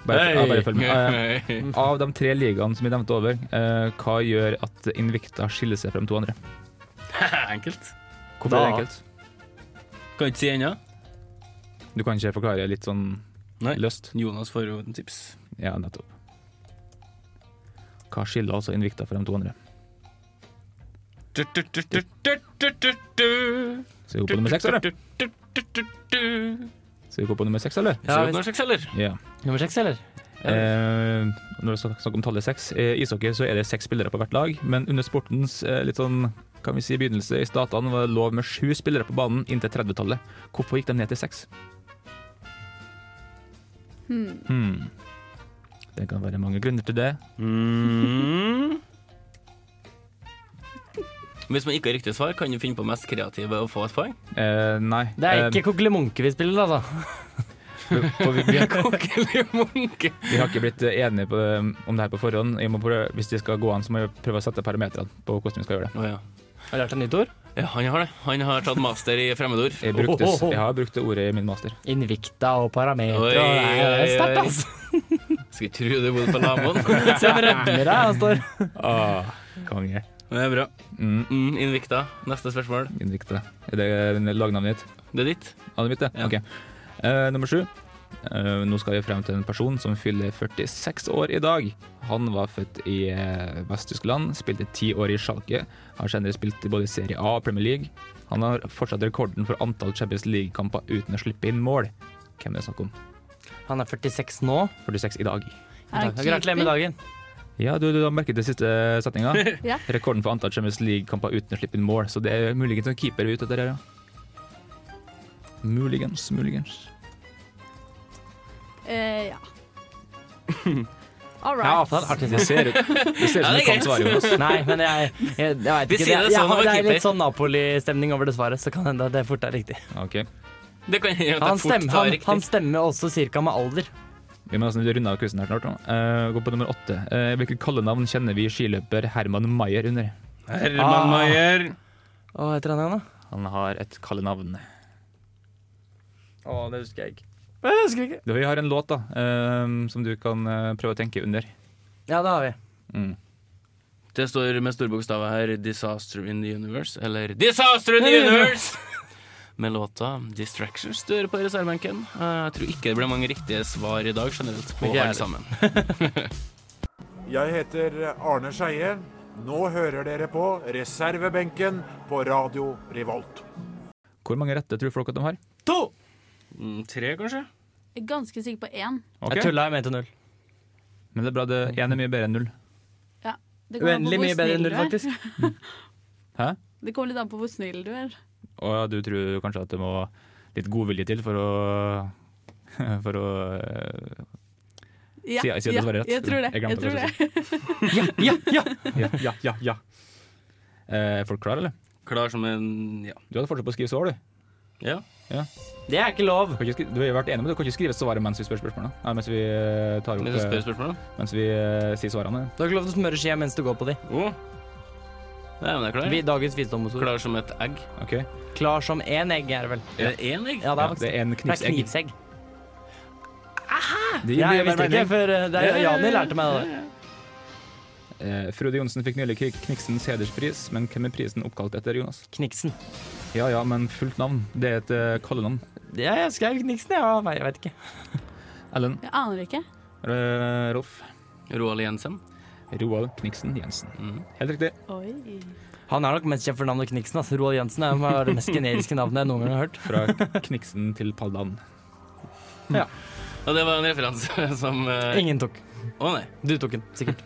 bare, ja, bare følg med. Eh, Hey. av de tre ligaene som vi nevnte over, eh, hva gjør at Invicta skiller seg fra de to andre? Enkelt. Hvorfor Da- er det enkelt? Kan ikke si ennå. Du kan ikke forklare litt sånn Nei. løst? Jonas får jo en tips. Ja, nettopp. Hva skiller altså Invicta fra de to andre? Du, du, du, du, du, du, du, du. Så vi går på nummer seks, eller? Du, du, du, du, du, du. Så vi går på nummer seks, eller? Ser du noe slags, eller? Ja. Nummer seks, eller? Eh, når det er snakk snakk om tallet seks. I ishockey så er det seks spillere på hvert lag, men under sportens eh, litt sånn kan vi si begynnelse i statene var det lov med sju spillere på banen inntil 30-tallet. Hvorfor gikk de ned til seks? Hmm. Hmm. Det kan være mange grunner til det. Mm. Hvis man ikke har riktig svar, kan du finne på mest kreative og få et poeng. Eh, nei. Det er Eh, ikke Kokkeli Munke vi spiller, altså. for vi, vi, har, Kokkeli munke. vi har ikke blitt eh, enige på, om det her på forhånd. Jeg må prøve, hvis de skal gå an, så må jeg prøve å sette parametrene på hvordan vi skal gjøre det. Å ja. Har du lært deg nytt ord? ja, han har det. Han har tatt master i fremmedord. Jeg, brukte, jeg har brukt det ordet i min master. Invicta og parameter Oi, og Nei, det er oi, sterkt, oi. altså. Skal ikke tro du bodde på Lamoen. Se hvor rødmer jeg her står. Ah, konge. Det er bra. Mm, Mm, Invicta. Neste spørsmål. Innriktet. Er det lagnavnet ditt? Det er ditt. Ah, det er mitt, det? Ja. Ok. Eh, nummer sju. Eh, nå skal vi frem til en person som fyller 46 år i dag. Han var født i eh, Vest-Tyskland, spilte ti år i Schalke. Har senere spilt i både Serie A og Premier League. Han har fortsatt rekorden for antall Champions League-kamper uten å slippe inn mål. Hvem er det snakk om? Han er 46 nå. 46 i dag. Er han Gratulerer med keeper? dagen. Ja, du, du har merket det siste setninga. Ja. Rekorden for antall Champions League-kamper uten å slippe inn mål. Så det er muligens en keeper vi er ute etter her, ja. Muligens, muligens. Eh, ja. Ja, All right. faen, artig å Det si. ser ut, det ser ut som du Ja, det er kan greit. svare, Jonas. Nei, men jeg, jeg, jeg vet Vi ikke. sier det jeg, sånn jeg, over det er litt keeper. sånn Napoli-stemning over det svaret, så kan hende det fort er riktig. Ok. Det kan hende at Han jeg fort stemmer, tar han, riktig. han stemmer også cirka med alder. Vi må nesten runde av quizen her snart. nå. Eh, gå på nummer åtte. Eh, hvilket kallenavn kjenner vi skiløper Herman Maier under? Herman Ah. Maier. Hva Ah. heter han igjen, da? Han har et kallenavn. Å, det husker jeg ikke. Jeg husker ikke. Vi har en låt da, eh, som du kan eh, prøve å tenke under. Ja, det har vi. Mm. Det står med store bokstaver her 'Disaster in the Universe', eller 'Disaster in the Universe'! Med låta 'Distractions' du hører på reservebenken. Eh, Jeg tror ikke det ble mange riktige svar i dag generelt på Ikke jeg alle heller. sammen. Jeg heter Arne Skeie. Nå hører dere på reservebenken på Radio Revolt. Hvor mange rette tror folk at de har? To! Mm, tre, kanskje? Jeg er ganske sikker på én. Ok. Jeg tulla, jeg mente null. Men det er bra. det Én er mye bedre enn null. Det kommer an på Uendelig hvor mye bedre enn snill null, du er. faktisk. Hæ? Det kommer litt an på hvor snill du er. Og ja, du tror kanskje at det må litt godvilje til for å For å eh, Ja, Sier jeg- sier jeg ja, det svaret rett? Jeg tror det. Jeg glemte Jeg tror det, det. Ja, ja, ja! ja, ja, ja. Eh, er folk klar, eller? Klar som en ja. Du hadde fortsatt på å skrive svar, du. ja. Det er ikke lov. Kan ikke skri- Du har jo vært enig med det, du kan ikke skrive svaret mens vi spør spørsmålene. Nei, mens vi eh, tar opp Men så spør eh, spørsmålet. Mens vi eh, sier svarene. Du har ikke lov til å smøre skia mens du går på de. Å. Nei, men det er klar. Vi, dagens visdomsord. Oh. Klar som et egg. Ok. Klar som én egg, er det vel. Er det én egg? Ja, det er det faktisk er en det er knivsegg. knivsegg. Det Ja, gir jeg mer visste ikke, mening. for eh, det er, Jani lærte meg det. der. Eh, Frode Johnsen fikk nylig Krik Kniksens hederspris, men hvem er prisen oppkalt etter, Jonas? Kniksen. Ja ja, men fullt navn. Det er et eh, kallenavn. Ja, jeg skrev Kniksen, ja. Nei, Jeg vet ikke. Ellen Jeg aner ikke. eh, Rolf Roald Jensen. Roald Kniksen Jensen. Mhm. Helt riktig. Oi. Han er nok mest kjent for navnet Kniksen. Altså. Roald Jensen er jo det mest generiske navnet jeg noen gang har hørt. Fra Kniksen til Paldan. Og det var en referanse som eh, Ingen tok. Å nei. Du tok den, sikkert.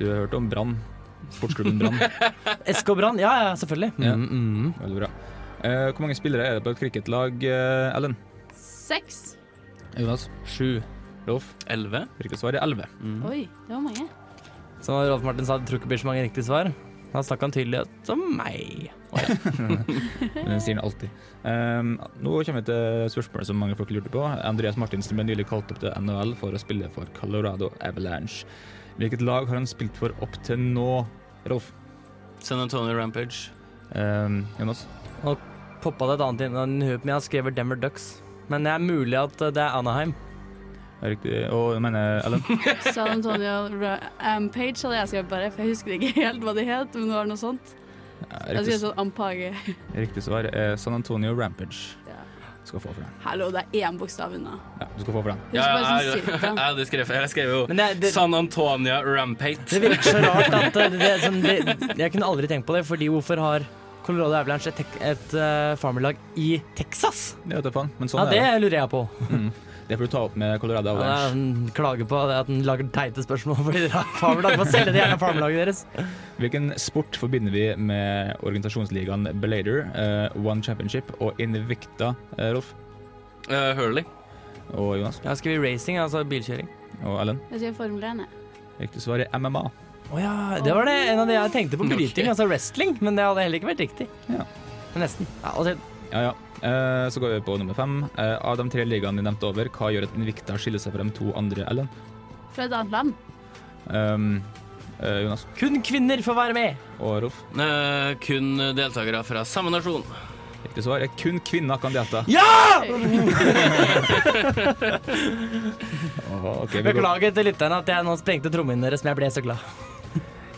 Du har hørt om Brann. Sportsklubben Brann. SK Brann, ja ja, selvfølgelig. Ja. Mm, mm. Veldig bra. Eh, hvor mange spillere er det på et cricketlag, eh, Ellen? Seks. Jonas? Sju. Rolf? Elleve? Riktig svar er elleve. Oi, det var mange. Som Rolf Martin sa, det tror ikke det blir så mange riktige svar. Han snakka om tydelighet om meg. Den sier den alltid. Ehm, nå kommer vi til spørsmålet som mange folk lurte på. Andreas Martinsen ble nylig kalt opp til NHL for å spille for Colorado Avalanche. Hvilket lag har han spilt for opp til nå, Rolf? San Antonio Rampage. Ehm, Jonas? Poppa det et annet inn i huet mitt, jeg har skrevet Denver Ducks. Men det er mulig at det er Anaheim. Riktig. Og jeg mener Ellen? San Antonio Ra- Ampage hadde Um, jeg skrevet bare, for jeg husker ikke helt hva det het. Men det var noe sånt. Ja, Jeg skrev Riktig, sånn Ampage. riktig svar er San Antonio Rampage. Ja. Du skal få for den. Hallo, det er én bokstav unna. Ja, du skal få for den. Det er bare sånn jeg, cirka. jeg, skrev, jeg skrev jo Men det, det, San Antonia Rampage. det virker så rart at det, det, er sånn, det, Jeg kunne aldri tenkt på det, fordi hvorfor har Colorado Avalanche et, tek- et eh, farmerlag i Texas? Ja, vet du faen, men sånn Ja, det er det. lurer jeg på. Det får du ta opp med Colorado Ja, Avalanche. Han klager på det at han lager teite spørsmål fordi dere har farmelag. Få selge det gjerne farmelaget deres. Hvilken sport forbinder vi med organisasjonsligaen Belader, eh, One Championship og Invicta, eh, Rolf? hurling. Og Jonas? Ja, skal vi racing, altså bilkjøring? Og Ellen? Jeg sier Formel 1, jeg. Riktig svar er MMA. Å ja, det var det en av de jeg tenkte på bryting, altså wrestling. Men det hadde heller ikke vært riktig. Men nesten. Ja, altså, Ja, ja. Eh, så går vi på nummer fem. Eh, av de tre ligaene vi nevnte over, hva gjør at Invicta skiller seg fra de to andre, Ellen? Fra et annet land. Um, eh, Jonas kun kvinner får være med! og Rolf? Eh, kun deltakere fra samme nasjon. Riktig svar er kun kvinner kan delta. Ja! Åh, ok, vi går- Beklager til lytterne at jeg nå sprengte trommehinnen deres, men jeg ble så glad.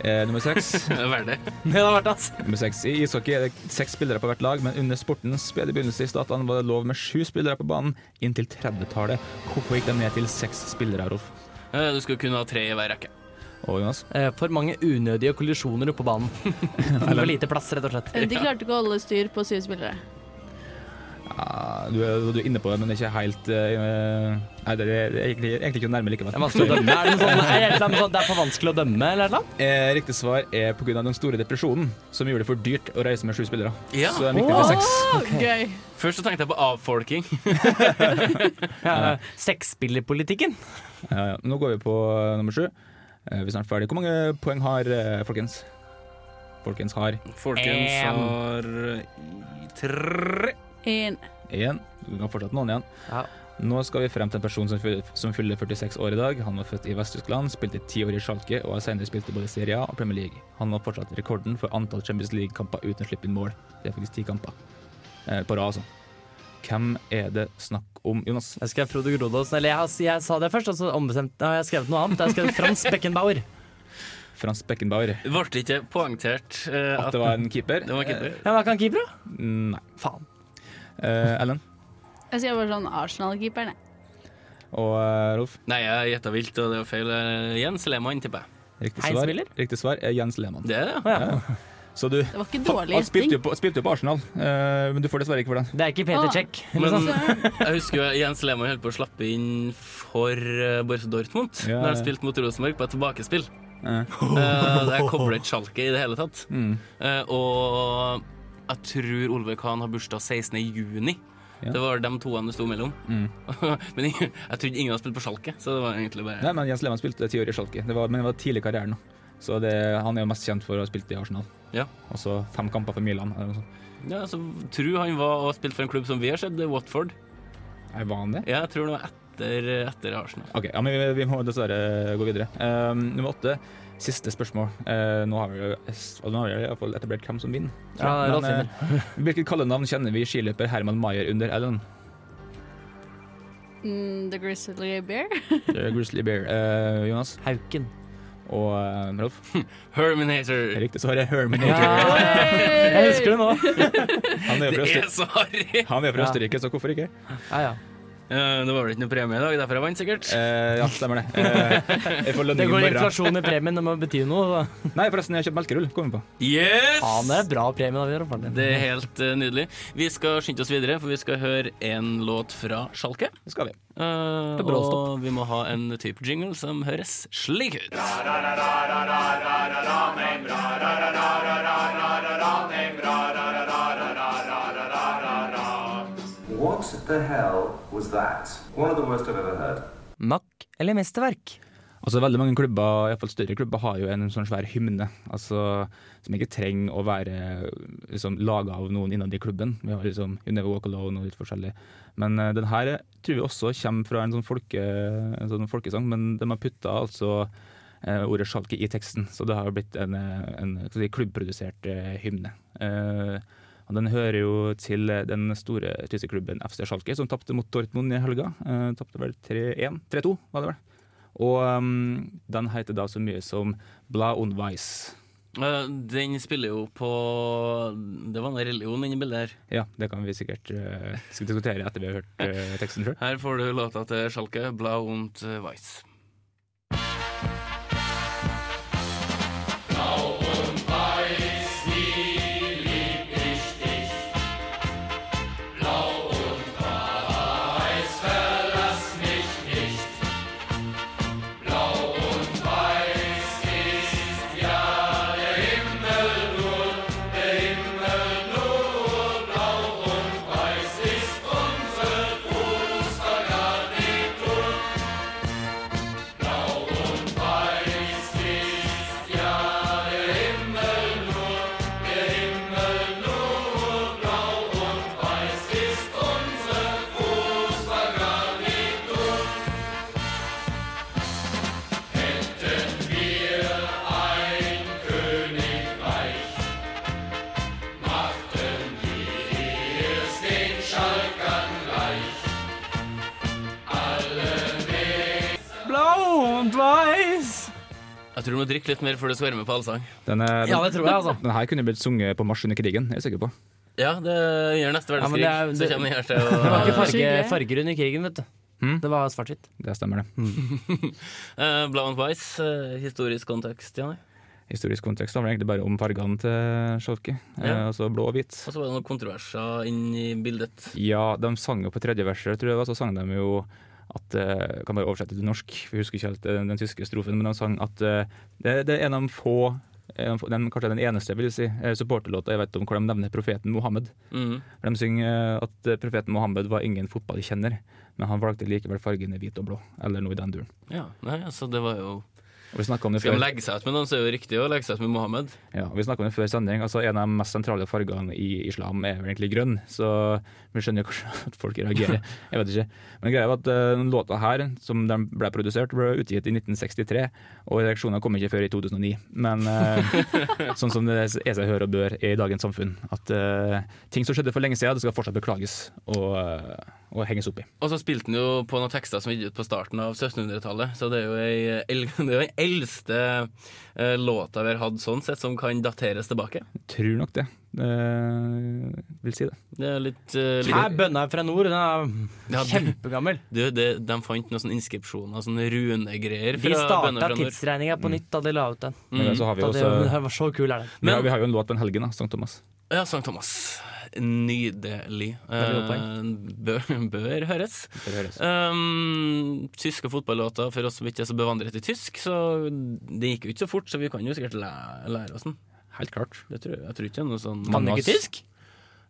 Eh, nummer seks. Verdig. Det hadde vært ass. Nummer seks. I ishockey er det seks spillere på hvert lag, men under sportens spede begynnelse i statene var det lov med sju spillere på banen inntil 30-tallet. Hvorfor gikk de ned til seks spillere, Rolf? Eh, du skulle kunne ha tre i hver rekke. Og Jonas? Eh, For mange unødige kollisjoner oppe på banen. For lite plass, rett og slett. Eh, De klarte ikke å holde styr på syv spillere. Ja, du, er- du er inne på det, men det er ikke helt eh, Nei, det er, det er egentlig, egentlig ikke nærme likevel. Det er vanskelig å dømme. Er det noe sånt? Er det et eller annet sånt, det er for vanskelig å dømme, eller noe? Eh, riktig svar er pga. den store depresjonen, som gjorde det for dyrt å reise med sju spillere. Ja. Så de gikk ned til seks. Gøy. Først så tenkte jeg på avfolking. Ja, Eh, Sexspillerpolitikken. Ja, ja. Nå går vi på eh, nummer sju. Eh, vi er snart ferdig. Hvor mange poeng har eh, folkens? Folkens har Folkens En. har eh, tre En. Én. Du kan fortsatt noen igjen. Nå skal vi frem til en person som, fyller- som fyller 46 år i dag. Han var født i Vest-Tyskland, spilte ti år i Schalke og har senere spilt i både Serie A og Premier League. Han har fortsatt rekorden for antall Champions League-kamper uten å slippe inn mål. Det er faktisk ti kamper eh, på rad, altså. Hvem er det snakk om, Jonas? Jeg skrev Frode Grodåsen, eller jeg, jeg sa det først, og så ombestemte jeg har skrevet noe annet. Jeg skrev Frans Beckenbauer. Frans Beckenbauer. Ble det ikke poengtert eh, At det var en keeper? Det var Eh. en keeper. Ja, men er ikke han keeper, da? Nei. Faen. Eh, Ellen Jeg sier bare sånn Arsenal-keeperen, jeg. og eh, Rolf? Nei, jeg gjetta vilt, og det var feil. Eh, Jens Lehmann, tipper jeg. Riktig Hei, svar, spiller. riktig svar er Jens Lehmann. Det er det, ja. Så du Det var ikke dårlig Han spilte jo gjetting. på, spilte jo på Arsenal, eh, men du får dessverre ikke for den. Det er ikke Peter Å, Cech, Men jeg husker jo Jens Lehmann holdt på å slappe inn for eh, Borussia Dortmund Ja, da han ja. spilte mot Rosenborg på et tilbakespill. Ja. Eh, der koblet Schalke i det hele tatt. Mm. Eh, og jeg tror Oliver Kahn har bursdag 16. juni. Ja. Det var de toene det sto mellom. Mm. men jeg, jeg trodde ingen hadde spilt på Schalke, så det var egentlig bare Nei, men Jens Lehmann spilte ti år i Schalke, det var, men det var tidlig i karrieren. da. Så det, han er jo mest kjent for å ha spilt i Arsenal. Ja. Og så fem kamper for Milan. Eller noe sånt. Ja, så tror han var og spilte for en klubb som vi har sett, det er Watford. Er det vanlig? Ja, jeg tror det var etter, etter Arsenal. OK, ja, men vi, vi må dessverre gå videre. Eh, nummer åtte, siste spørsmål. Eh, nå har vi jo altså, nå har vi i hvert fall etablert hvem som vinner. Ja, men, Rolf vinner. eh, hvilket kallenavn kjenner vi skiløper Herman Maier under Ellen? Mm, the Grizzly Bear. Eh, Grizzly Bear. Eh, Jonas? Hauken. Og eh, Rolf? Herminator. Riktig svar er Herminator. Jeg husker det nå. Han er jo fra, Det er Øster- så harry! han er jo fra Ja. Østerrike, så hvorfor ikke? Ja, ja. Eh, det var vel ikke noe premie i dag, derfor jeg vant sikkert. Eh, ja, stemmer det. Eh, jeg får lønning Det i går morgen. inflasjon i premien, det må bety noe. Nei, forresten, jeg har kjøpt melkerull. Kom på. Yes! Faen, det er bra premie. da vi gjør, faren din. Det er helt eh, nydelig. Vi skal skynde oss videre, for vi skal høre en låt fra Schalke. Det skal vi. Eh, Det er bra og vi må ha en type jingle som høres slik ut. What the hell was that? One of the worst I've ever heard. Mack eller mesterverk? Altså, veldig mange klubber, i hvert fall større klubber, har jo en sånn svær hymne. Altså, som ikke trenger å være liksom, laga av noen innad i klubben. Vi har liksom You Never Walk Alone og litt forskjellig. Men eh, den her tror vi også kommer fra en sånn, folke, en sånn folkesang, men de har putta altså eh, ordet Schalke i teksten. Så det har jo blitt en, eh, en hva skal jeg si, klubbprodusert eh, hymne. Eh, og den hører jo til eh, den store tyske klubben FC Schalke, som tapte mot Dortmund i helga. Eh, tapte vel 3-1? 3-2, var det vel. Og um, den heter da så mye som Bla und Weiss. Eh, den spiller jo på Det var en religion inni bildet her. Ja, det kan vi sikkert eh, skal diskutere etter vi har hørt eh, teksten sjøl. Her får du låta til Schalke, Blau und Weiss. Blau und Weiß, verlass mich Jeg tror du må drikke litt mer før du skal være med på allsang. Den, er- Ja, det tror jeg, altså. Den her kunne blitt sunget på marsj under krigen, jeg er sikker på. Ja, det gjør neste Ja, men verdenskrig. det er- så det- kommer jeg til å Det var ikke farge, farger under krigen, vet du. Hm? Det var svart-hvitt. Det stemmer, det. Eh, Blau and Weiss, eh, historisk kontekst, Janne. Historisk kontekst handler egentlig bare om fargene til Sjolke. Ja. Eh, altså blå og hvit. Og så var det noen kontroverser inn i bildet. Ja, de sang jo på tredje verset, tror jeg det var, så sang de jo at eh, Kan bare oversette til norsk, for jeg husker ikke helt eh, den, den tyske strofen, men de sang at eh, det, det er en av de få en av de- den, kanskje den eneste vil jeg si, eh, supporterlåta jeg vet om hvor de nevner profeten Mohammed. Mhm. De synger eh, at eh, profeten Mohammed var ingen fotballkjenner, men han valgte likevel fargene hvit og blå, eller noe i den duren. Ja, nei, altså det var jo Og vi snakket om det Skal de før. legge seg ut med noen, så er det jo riktig å legge seg ut med Mohammed. Ja, og Vi snakka om det før sending. altså En av de mest sentrale fargene i islam er vel egentlig grønn, så vi skjønner jo kanskje at folk reagerer. Jeg vet ikke. Men greia var at eh, den låta her, som den ble produsert, ble utgitt i 1963, og reaksjonene kom ikke før i 2009. Men eh, sånn som det er seg hør og bør i dagens samfunn, at eh, ting som skjedde for lenge siden, det skal fortsatt beklages og, eh, og henges opp i. Og så spilte han jo på noen tekster som gikk ut på starten av 1700-tallet, så det er jo ei el- det er jo den eldste eh, låta vi har hatt sånn sett, som kan dateres tilbake. Tror nok det. Eh, vil si det. Det er litt, eh, litt Nei, bønna er fra nord. Den er Ja, det- kjempegammel. Du, det, de fant noen sånne inskripsjoner, sånne runegreier De bønder starta fra nord. Mm. tidsregninga på nytt da de la ut den. Men så har vi Da det- også- den her var så kul er den. Men, vi har jo en låt på en helgen, da, Sankt Thomas. Ja, Sankt Thomas. Nydelig. Veldig godt Eh, bør, bør høres. Bør høres. Um, tyske fotballåter for oss som ikke er så bevandret i tysk, så det gikk jo ikke så fort, så vi kan jo sikkert lære, lære oss den. Helt klart. Det tror jeg, jeg tror ikke det er noe sånn Kan du ikke tysk?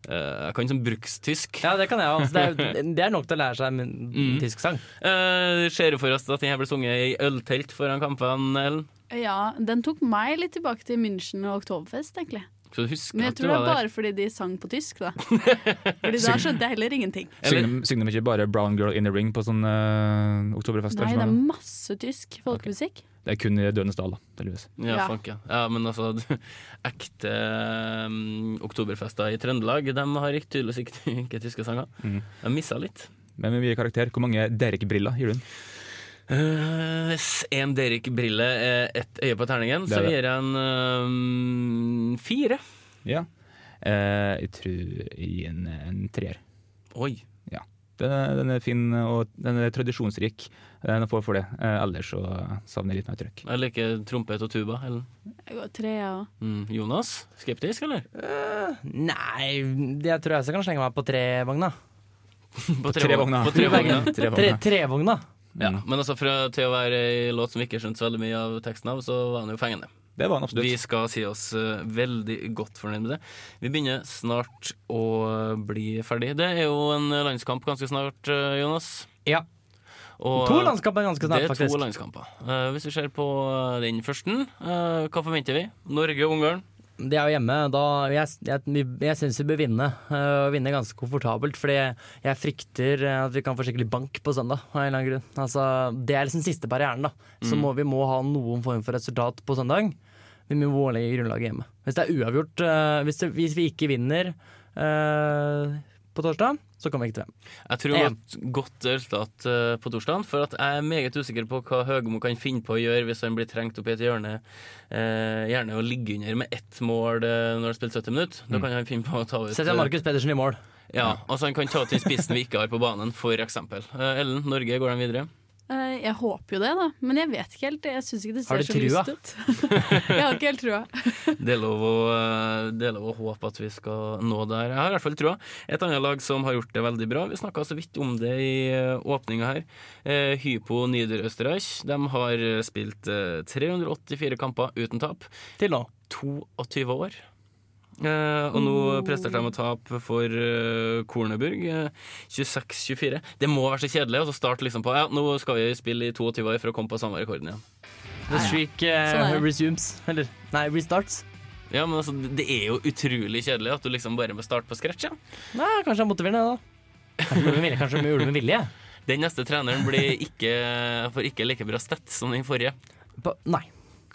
Eh, jeg kan sånn brukstysk. Ja, det kan jeg også. Det er, det er nok til å lære seg en Mm. tysk sang. Eh, ser du for oss at den her ble sunget i øltelt foran kampene, Ellen? Ja, den tok meg litt tilbake til München og Oktoberfest, egentlig. Så du husker Men jeg at du tror det er var der? bare fordi de sang på tysk, da. Fordi da skjønte jeg heller ingenting. Synger de- synger de ikke bare 'Brown Girl in the Ring' på sånn uh, oktoberfest? Nei, det arrangement, er da? masse tysk folkemusikk. Det er kun i Dødens dal, da, tydeligvis. Ja, Ja. fanken. Ja, men altså, du- ekte um, oktoberfester i Trøndelag, de har ikke tydeligvis ikke, ikke tyske sanger. Mhm. Mm. Jeg missa litt. Men vi gir karakter. Hvor mange Derek-briller gir du den? Eh, Hvis en Derek-brille er ett øye på terningen, Det er så det. gir jeg en um, fire. Ja. Eh, jeg tror jeg gir en, en treer. Oi. Ja. Den er, den er fin, og den er tradisjonsrik. Den får for det. Eh, ellers så savner jeg litt mer trøkk. Jeg liker trompet og tuba. Ellen. Jeg går tre, jeg òg. Mm, Jonas, skeptisk, eller? Nei, det tror jeg så kan slenge meg på trevogna. På trevogna. Mm. På trevogna. Tre- Trevogna. Ja, men altså fra, til å være ei låt som vi ikke skjønte så veldig mye av teksten av, så var den jo fengende. Det var den absolutt. Vi skal si oss eh, veldig godt fornøyd med det. Vi begynner snart å bli ferdig. Det er jo en landskamp ganske snart, eh, Jonas. Ja. Og, To landskamper ganske snart, Det er faktisk. to landskamper. Eh, hvis vi ser på eh, den første, eh, hva forventer vi? Norge og Ungarn. Det er jo hjemme. Da, jeg jeg, jeg syns vi bør vinne, eh, og vinne ganske komfortabelt. Fordi jeg frykter eh, at vi kan få skikkelig bank på søndag. Av en eller annen grunn. Altså, det er liksom siste barrieren. da. Så Mm. må, vi må ha noen form for resultat på søndag. Vi må legge grunnlaget hjemme. Hvis det er uavgjort, eh, hvis, det, hvis vi ikke vinner eh, på torsdag, så kommer vi ikke til VM. Jeg tror Ja. at godt resultat eh, på torsdagen, for at jeg er meget usikker på hva Høgmo kan finne på å gjøre hvis han blir trengt opp i et hjørne. Eh, gjerne å ligge under med ett mål eh, når det er spilt 70 minutter. Da kan han finne på å ta Mm. ut Setter jeg Markus Pedersen i mål. Ja, altså han kan ta ut den spissen vi ikke har på banen, for eksempel. Eh, Ellen, Norge, går de videre? Eh, Jeg håper jo det, da. Men jeg vet ikke helt. Jeg syns ikke det Har ser du så lyst ut. jeg har ikke helt trua. Det er, lov å, eh, det er lov å håpe at vi skal nå der. Jeg har i hvert fall trua. Et annet lag som har gjort det veldig bra. Vi snakka så vidt om det i åpninga her. Eh, Hypo Niederösterreich. De har eh, spilt eh, 384 kamper uten tap. Til nå. 22 år. Eh, og nå presterte de å tape for eh, Korneburg. Eh, 26-24. Det må være så kjedelig å starte liksom på Ja, nå skal vi spille i 22 år for å komme på samme rekorden igjen. The streak eh, Sånn er det. resumes. Eller nei, restarts. Ja, men altså, det er jo utrolig kjedelig at du liksom bare må starte på scratch igjen. Nei, kanskje han måtte vinne, da. Kanskje han gjorde det med vilje, Kanskje han gjorde det med vilje. Den neste treneren blir ikke, får ikke like bra stett som den forrige. På, nei.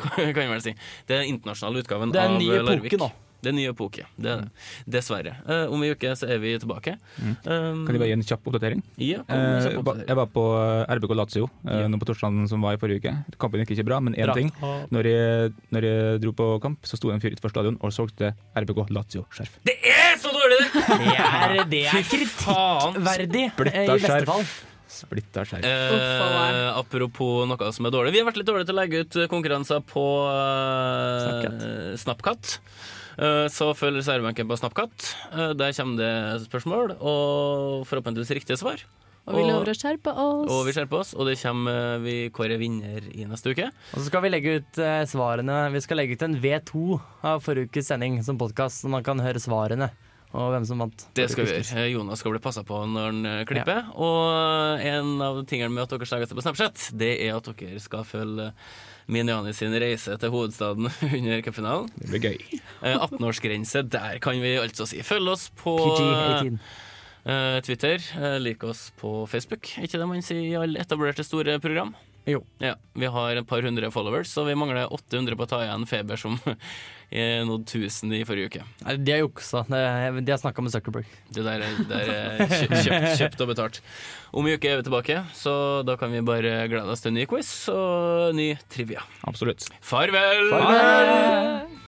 Kan jeg vel si. Det er den internasjonale utgaven Det er av eh, en ny epoke Larvik. nå. Det er en ny epoke. Det er det. Dessverre. Eh, om ei uke så er vi tilbake. Mm. Um, Kan jeg bare gi en kjapp oppdatering? Ja, kom med en kjapp Eh, ba- oppdatering. Jeg var på eh, RBK Lazio eh, Ja. nå på torsdagen som var i forrige uke. Kampen gikk ikke bra, men én Drakt. ting. Ah. Når jeg, når jeg dro på kamp, så sto en fyr utenfor stadion og solgte RBK Lazio-skjerf. Det er så dårlig, det! Det er, det Fy er kritikkverdig, eh, i Splitta beste fall. skjerf. Splitta skjerf. Eh, apropos noe som er dårlig. Vi har vært litt dårlige til å legge ut eh, konkurranser på eh, Snapchat. Eh, så følg reservebenken på Snapchat. Eh, der kommer det spørsmål og forhåpentligvis riktige svar. Og vi lover å skjerpe oss. og vi skjerper oss, og det kommer eh, vi kårer vinner i neste uke. Og så skal vi legge ut eh, svarene. Vi skal legge ut en V2 av forrige ukes sending som podkast, så man kan høre svarene og hvem som vant. Det skal vi gjøre. Eh, Jonas skal bli passa på når han eh, klipper. Og eh, en av tingene med at dere snakker seg på Snapchat, det er at dere skal følge eh, Miniani sin reise til hovedstaden under cupfinalen. Det blir gøy. Eh, 18-årsgrense, der kan vi altså si. Følg oss på PG-18. eh, Twitter. Eh, Lik oss på Facebook. Er ikke det man sier i alle etablerte store program? Jo. Ja, Vi har et par hundre followers, så vi mangler 800 på å ta igjen Feber, som eh, nådde 1000 i forrige uke. Nei, De har juksa. De de har snakka med Zuckerberg. Det der er, det der er kjøpt, kjøpt, kjøpt og betalt. Om en uke er vi tilbake, så da kan vi bare glede oss til en ny quiz og ny trivia. Absolutt. Farvel! Farvel!